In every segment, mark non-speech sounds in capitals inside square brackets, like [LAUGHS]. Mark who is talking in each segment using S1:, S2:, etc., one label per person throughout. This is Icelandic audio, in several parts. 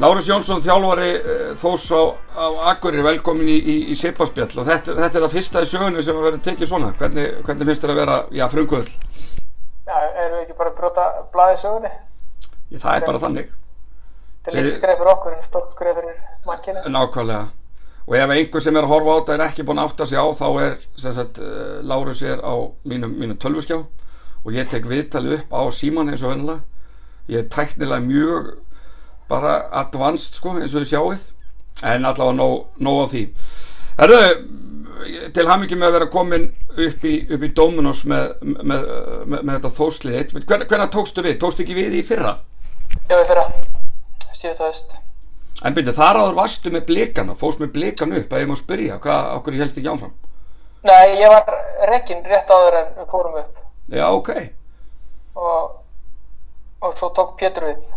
S1: Lárus Jónsson, þjálfari eh, Þórs á, á Akureyri, velkomin í, í, í Siparspjall og þetta, þetta er það fyrsta í sögunni sem að vera tekið svona. Hvernig, hvernig finnst þér að vera, já, frumkvöld?
S2: Já, erum við ekki bara að brota blaði sögunni?
S1: Það er bara þannig.
S2: Þetta er
S1: Fyrir-
S2: lítið skreið fyrir okkur en stórt skreið fyrir mannkinu.
S1: Nákvæmlega. Og ef einhver sem er að horfa á þetta er ekki búinn að átta sig á þá er sem sagt eh, Lárus er á mínum, mínum tölvuskjá og ég tek viðtalið upp á síman eins og vennilega. Ég er tæknilega mjög bara advanced sko eins og þið sjáið en allavega nóg, nóg á því. Herðu, til hamingi með að vera komin upp í, upp í Dominos með, með, með, með þetta þórslið eitt. Hven, hvernig tókstu við? Tókstu ekki við í fyrra?
S2: Já, við fyrra. Síðast aðeist.
S1: En byrju, þar áður varstu með blikana, fóst með blikan upp að ég má spyrja, hvað, okkur helst ekki áfram?
S2: Nei, ég var reygin rétt áður en við fórum upp
S1: Já, ok.
S2: og, og svo tók Pétur við.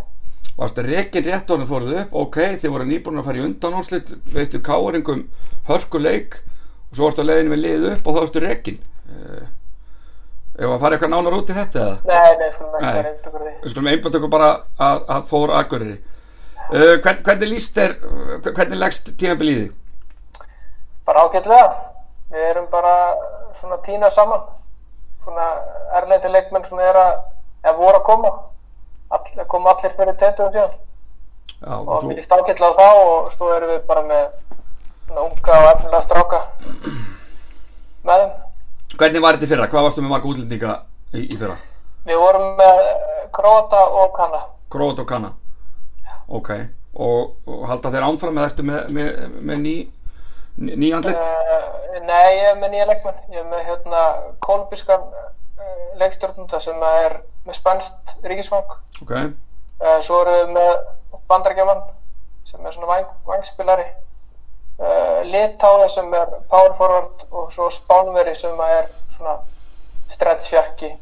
S1: Varstu rekin rétt og hann fóruð upp, ok, þið voru nýbúin að fara í undanáslit, veittu káeringum hörkuleik og svo varstu að leiðinu með lið upp og þá varstu rekin. Uh, ef að fara eitthvað nánar út í þetta eða?
S2: Nei, nei, skulum ekki
S1: Nei.
S2: vera einnig okkur því.
S1: Við skulum einbænt okkur bara að, að fóra akkurri. Uh, hvern, hvernig líst þér, uh, hvernig leggst tímabiliði?
S2: Bara ágætlega. Við erum bara svona tína saman. Svona erleiti leikmenn svona er að, eða voru að koma. All, kom allir fyrir 20 síðan.
S1: Já,
S2: og
S1: þú,
S2: mér líst ágætlega á þá og svo erum við bara með svona unga og efnilega stráka með þeim.
S1: hvernig var þetta í fyrra? Hvað varstu með marga útlendinga í, í fyrra?
S2: Við vorum með Króta og Kanna.
S1: Grót og kanna Ok, og, og halda þeir ánfram eða ertu með, með, með ný, ný ný andlit?
S2: Uh, nei, ég er með nýja leikmenn. Ég er með hérna kolumbískan uh, leikstjórnunda sem er með spænst ríkisfang.
S1: Ok,
S2: Uh, svo erum við með bandarækjaman sem er svona vang, vangspilari. Uh, Litáða sem er power forward og svo Spánveri sem er svona stretchfjarki,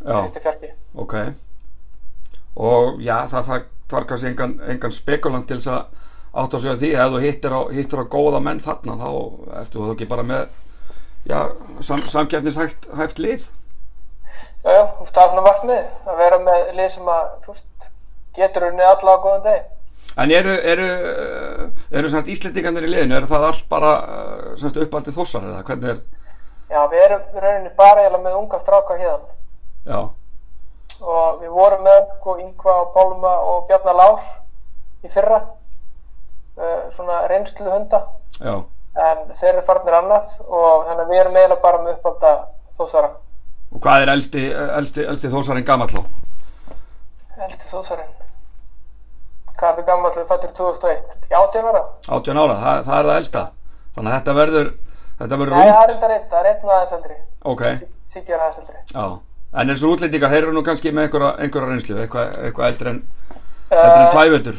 S1: já,
S2: stretchfjarki.
S1: ok Og já, það, það var kannski engan, engan spekulant til þess að átt að segja því ef þú hittir á, hittir á góða menn þarna þá ertu þú ekki bara með já, sam, samkefnishæft hæft lið
S2: Já, já, þú veist, það er svona markmið að vera með lið sem að, þú veist, getur unni alla á góðan deg.
S1: En eru, eru, eh, eru semst Íslendingarnir í liðinu, eru það allt bara eh, semst uppaldið þossar eða hvernig er,
S2: Já, við erum í rauninni bara eiginlega með unga stráka hérna
S1: já,
S2: og við vorum með sko, Yngva og Pálma og Bjarnar Lár í fyrra, uh, svona reynslu hunda,
S1: já,
S2: en þeir eru farnir annað og þannig að við erum eiginlega bara með uppalda þósara,
S1: Og hvað er elsti, elsti, elsti þósarinn gamall á?
S2: eldi þósarinn. Hvað er þau gammal þau fættir 2001? Þetta er ekki átján ára?
S1: 18 ára, það, það er það elsta. Þannig að þetta verður, þetta verður
S2: Nei, það
S1: rúmt.
S2: er reyndar einn, það er einn aðeins eldri,
S1: Ok,
S2: Siggi er aðeins eldri.
S1: já. En eins og útlendinga, þeir eru nú kannski með einhverja, einhverja reynslu, eitthvað, eitthvað eldri en, eldri en
S2: Eh,
S1: tvævöldur.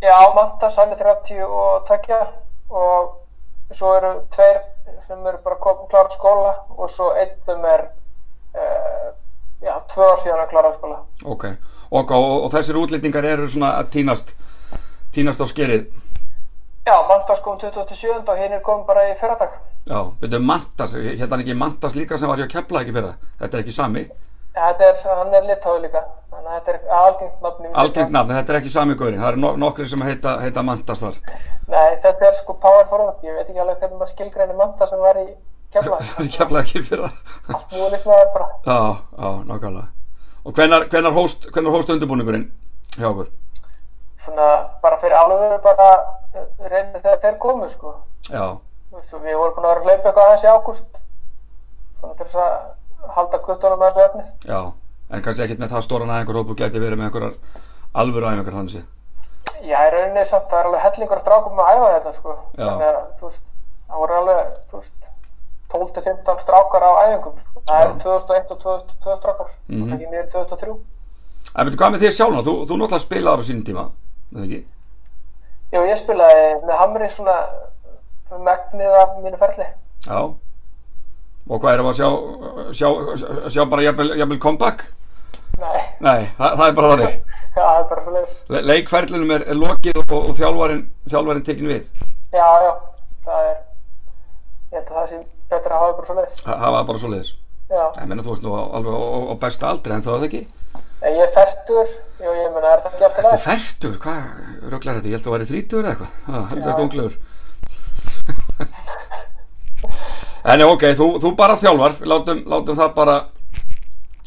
S2: Já, Mantas, hann er 30 og tvekja og svo eru tveir sem eru bara kom- klárar skóla og svo einn sem er uh, já, tvö ár síðan að klára skóla.
S1: Ok, og, og, og þessir útlendingar eru svona að týnast, týnast á skerið.
S2: Já, Mantas kom 27. og hinn er komin bara í fyrradag.
S1: Já, byrjuðu Mantas, hérna hann ekki Mantas líka sem var hjá Kefla ekki fyrir það. Þetta er ekki sami.
S2: Þetta er, hann er litáðu líka, þannig að þetta er algengt nafni.
S1: Algengt nafn, þetta er ekki sami góðurinn. Það eru no nokkri sem heita, heita Mantas þar. [LAUGHS]
S2: Nei, þetta er sko power forward, ég veit ekki alveg hvernig maður skilgreinir Mantas sem var í kemla.
S1: [LAUGHS] Það er Kefla ekki fyrir
S2: Allt múið líkt með það bara.
S1: Já, já, nákvæmlega. Og hvenar, hvenar, hóst, hvenar hóst undirbúningurinn hjá okkur?
S2: Svona bara fyrir alveg bara eh, reynir þegar þeir komu sko.
S1: Já,
S2: Þú veist, og við vorum búin að vera að hlaupa eitthvað aðeins í ágúst þannig til þess að halda kvötunum með þessu efnið
S1: já. En kannski ekkert með það stóran að einhver hópu geti verið með einhverjar alvöru æfingar þannig séð.
S2: Já, í rauninni samt, það er alveg hellingur að strákum að æfa þetta sko
S1: Já.
S2: þannig að, þú veist, það voru alveg, þú veist 12-15 strákar á æfingum sko. það
S1: Já.
S2: eru 2001 og 2002 strákar
S1: Mhm.
S2: ekki mér 2003
S1: En veitu hvað með þér sjálf? Þú, þú náttúrulega spilaður á sínum tíma, eða ekki?
S2: Já, ég spilaði með Hamri svona svona megnið af mínu ferli
S1: Já. Og hvað erum við að sjá, sjá, sjá bara jafnvel, jafnvel comeback?
S2: Nei, [LAUGHS]
S1: Nei, það, það er bara þannig.
S2: já, það er bara svo leiðis
S1: Le- Leikferlinum er, er lokið og, og þjálfarin, þjálfarin tekin við.
S2: Já, já, það er ég held að það sé betra að hafa bara svo leiðis
S1: Það það var bara svo leiðis.
S2: Já
S1: Ég meina þú ert nú á- alveg á, á, á besta aldri en þá er það ekki?
S2: Nei, Ég er færtur, jú, ég meina, er það ekki alltaf
S1: Þú
S2: lægt?
S1: færtur, hvað? rugglar þetta, ég held að þú væri 30 eða eitthvað, Ha, heldur þetta
S2: Já.
S1: unglegur [LAUGHS] En já, ok, þú, þú bara þjálfar, Við látum, látum það bara,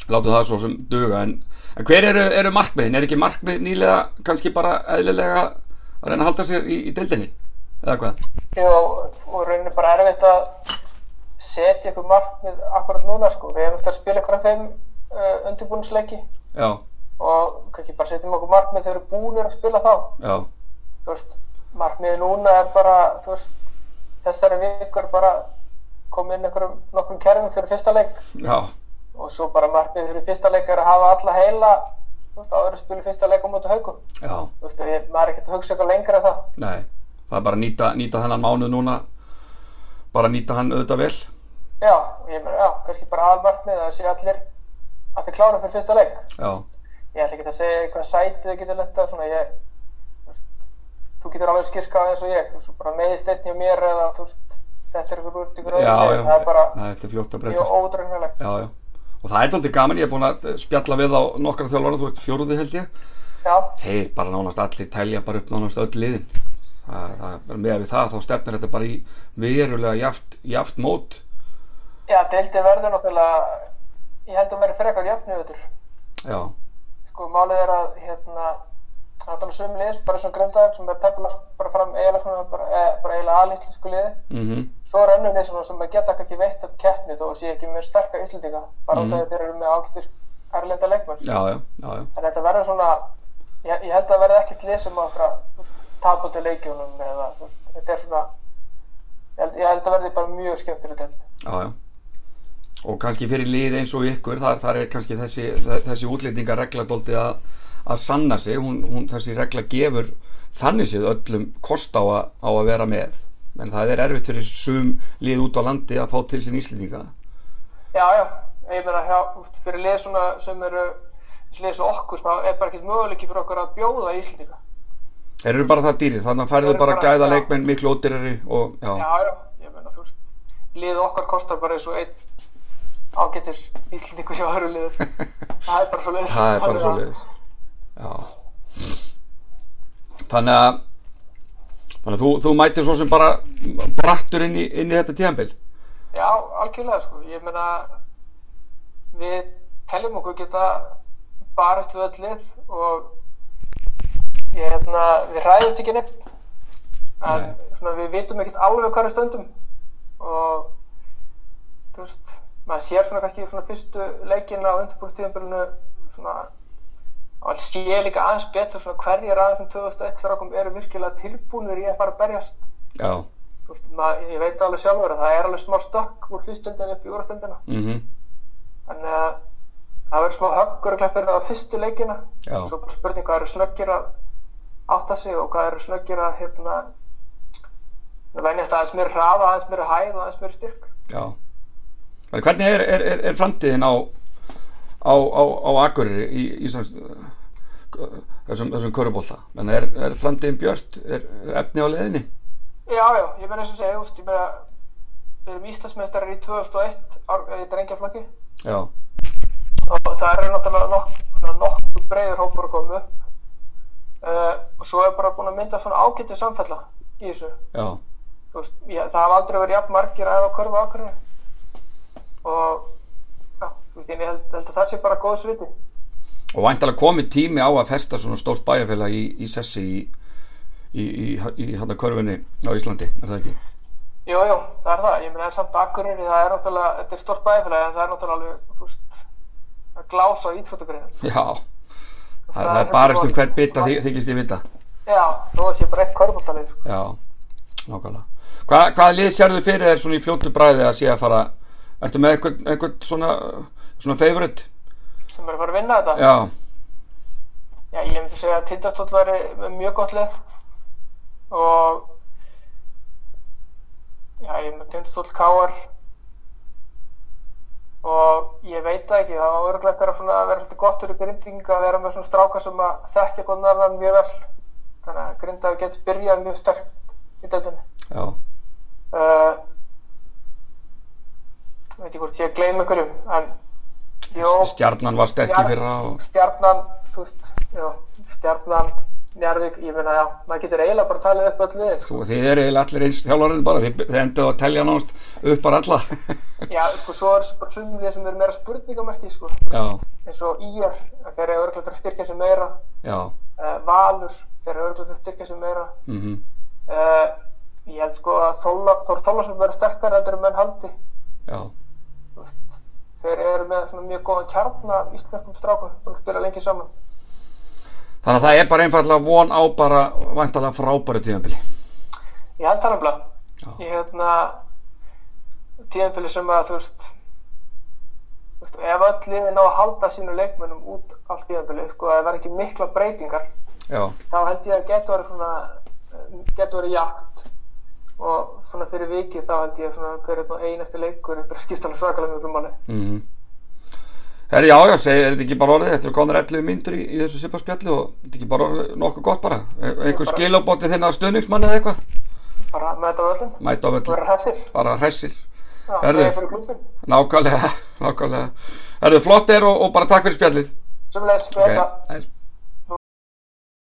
S1: látum það svo sem duga En, en hver eru, eru markmiðin, er ekki markmið nýlega kannski bara eðlilega að reyna að halda sér í, í deildinni Eða hvað,
S2: Já, og rauninni bara erfitt að setja ykkur markmið akkurat núna sko. Við hefum eftir að spila ykkur af þeim uh, undirbúinsleiki
S1: já,
S2: og kannski bara setjum okkur markmið þegar við erum búinir að spila þá.
S1: já,
S2: Þú veist, markmiðið núna er bara, þú veist, þessari vikur bara koma inn ykkur nokkrum kerfum fyrir fyrsta leik
S1: já,
S2: og svo bara markmiðið fyrir fyrsta leik er að hafa alla heila, þú veist, áður að spila fyrsta leik á móti haugum.
S1: já,
S2: Þú veist, ég, maður er ekkert að hugsa eitthvað lengra en það.
S1: nei Það er bara að nýta, nýta þennan mánuð núna, bara nýta hann auðvitað vel
S2: Já, ég meina, já, kannski bara aðalmarkmið að það sé allir allir klára fyrir fyrsta leik.
S1: Já,
S2: Ég ætla ekki að segja hvað sæti þau getur lendað, svona ég, þú veist, þú getur alveg skirkað eins og ég, þú veist, bara meðist einn hjá mér eða þú veist, þetta er ykkur út ykkur
S1: já, já,
S2: það er bara
S1: Nei, þetta er fljótt að breytast
S2: mjög ódraunilegt.
S1: Já, já. Og það er tóldið gaman, ég er búin að eh, spjalla við á nokkra þjálfara, þú ert fjóruði held ég.
S2: Já,
S1: Þeir bara nánast allir telja bara upp nánast öll liðin. Það, það, með við það þá stefnir þetta bara í verulega jaft, jaft mót.
S2: já, deildin verður náttúrulega, ég held að hún verður frekar jöfnu öður.
S1: Já,
S2: Sko, málið er að, hérna, náttúrulega sum liðs, bara eins og grindaðum sem er tefla bara fram eiginlega svona, bara, eh, bara eiginlega aðlýslisku liði.
S1: mhm,
S2: svo er önnur leysin sem að geta kannski veitt upp keppni þó að sé ekki mjög sterka Íslendinga bara út af því að þeir eru með ágættis erlenda leikmenn
S1: já, já, já, já,
S2: þannig að þetta verður svona ég, ég held að það verði ekkert lið sem að tapa til leikjónum eða þú veist, þetta er svona ég held, ég held að verði bara mjög skemmtileg delt
S1: já, já. Og kannski fyrir lið eins og ykkur, þar, þar er kannski þessi, þe- þessi útlýtingarregla tóldið að, að sanna sig. Hún, hún, þessi regla gefur þannig séð öllum kost á að, á að vera með. En það er erfitt fyrir sum lið út á landi að fá til sín Íslendinga.
S2: já, já, ég meina hjá, úst, fyrir lið svona sem eru lið eins og okkur, þá er bara ekkert möguleiki fyrir okkur að bjóða Íslendinga
S1: Þeir eru bara það dýrir, þannig að færðu
S2: Þeir eru
S1: bara
S2: bara-
S1: gæða
S2: já.
S1: leikmenn miklu ódýrari og já, já,
S2: já, já, ég meina þú veist lið okkar kostar bara eins og einn ágættis íslendingur hjá öðru
S1: [LAUGHS]
S2: lið það er bara svo leiðis
S1: það er bara svo leiðis. Já. Þannig að, þannig að þú, þú mætir svo sem bara brattur inn í, inn í þetta tíðanbíl.
S2: já, algjörlega sko, ég meina við teljum okkur geta barist við öll lið og ég hérna við ræðumst ekki nefn en
S1: Nei.
S2: svona, við vitum ekkert alveg hvað er stöndum og þú veist, maður sér svona kannski svona fyrstu leikin á undirbúrstíðanbyrjunu svona og sé líka aðeins betur svona hverjir aðeins um 2001 strákum eru virkilega tilbúnir í að fara að berjast
S1: Já,
S2: Þú veist, maður, ég veit alveg sjálfur að það er alveg smá stökk úr fyrstöndinu upp í úrstöndina
S1: mhm,
S2: þannig að það verður smá höggur fyrir það á fyrstu leikina
S1: Já.
S2: svo bara spurning hvað eru snöggir að átta sig og hvað eru snöggir að hérna það venjast aðeins mér hraða, aðeins mér hæð og aðeins mér styrk
S1: já. Þannig hvernig er, er, er, er framtíðin á, á, á, á Akureyri í, í sem, þessum, þessum körubólta? Þannig er, er framtíðin björt, er, er efni á leiðinni?
S2: já, já, ég meina eins og segja úst, ég meina við erum Íslandsmeistarar í 2001 ár- eh, í drengjaflokki
S1: Já,
S2: og það eru náttúrulega nokkuð nokku breyður hópur að koma upp uh, og svo er bara búin að mynda svona ágætið samfella í þessu
S1: já,
S2: Þú veist, ég, það hafa aldrei verið jafn margir að hafa körfu ákvörðinu og já, þú veist, ég held, held að það sé bara góð sviti
S1: Og væntalega komið tími á að festa svona stórt bæjarfélag í, í sessi í, í, í, í hérna körfunni á Íslandi, er það ekki?
S2: jú, jú, það er það, ég meina en samt akkurinn það er náttúrulega, þetta er stórt bæðfélagi en það er náttúrulega alveg, þú veist að glása á ítfotogrinu
S1: Já, það, það er barist um hvern bita þy- þykist ég vita.
S2: já, þó að sé bara eitt körfbóltalið sko.
S1: Já, nákvæmlega. Hva, hvaða lið sérðu fyrir þér svona í fljótu bræði að sé að fara, ertu með einhvern, einhvern svona, svona favorite?
S2: sem er að fara að vinna þetta
S1: Já,
S2: Já, ég myndi segja að Tindastóll væri með mjög gott lið og já, ég myndi Tindastóll káar og ég veit það ekki, það var örglega bara svona að vera svolítið gott fyrir grindinga að vera með svona stráka sem að þekkja konar mjög vel þannig að grindaður getur byrjað mjög sterkt í dældinni
S1: já,
S2: uh, veit ekki hvort ég gleym einhverjum en jó,
S1: stjarnan var sterk í
S2: Stjarn-
S1: fyrra og
S2: stjarnan, þú veist, já, stjarnan Njarvík, ég meina já, maður getur eiginlega bara talið upp öll liðin.
S1: Þú, þið eru eiginlega allir eins þjálfarinn bara, þið, þið endið á að telja nánast upp bara alla. [LAUGHS]
S2: Já, sko, svo er bara sumum því sem eru meira spurningamerki, sko.
S1: já,
S2: Eins og IR, þeir eru örgulega þurft styrkja sem meira.
S1: já,
S2: Uh, Valur, þeir eru örgulega þurft styrkja sem meira.
S1: mhm,
S2: Uh, ég held sko að Þóla, Þór Þólasson verður sterkar heldur en menn haldi.
S1: já,
S2: Þú veist, Þeir eru með svona mjög góðan kjarn af íslenskum strákum, búin að spila lengi saman.
S1: þannig að það er bara einfallega von á bara vantalega frábæru tíðanbili.
S2: Ég held það nefnilega.
S1: Já.
S2: Ég hérna tíðanbili sem að þú veist, þú veist ef öll liðin á að halda sínu leikmönnum út allt tíðanbili, sko, ef það verð ekki mikla breytingar,
S1: Já,
S2: þá held ég að getur verið svona getur verið eh, jakt og svona fyrir vikið þá held ég svona hver er einn eftir leikur eftir að skipta alveg svakalega mjög frumanni.
S1: mhm. Herri, já, já, segi, er þetta ekki bara orðið, þetta eru konar 11 myndur í, í þessu sipparspjalli og þetta er ekki bara orðið nokkuð gott bara. Er, einhver
S2: Bara-
S1: skilabóti þinn af stöðningsmanni eða eitthvað? Mm.
S2: Bara með þetta á öllum
S1: Mæta á
S2: og
S1: völlum,
S2: vera hressir.
S1: bara hressir.
S2: Já,
S1: Herðu.
S2: þegar fyrir klubin.
S1: [LAUGHS] Nákvæmlega, nákvæmlega. Herri, flott er og, og bara takk fyrir spjallið.
S2: Sjöfumlega, spila þess
S1: Ok,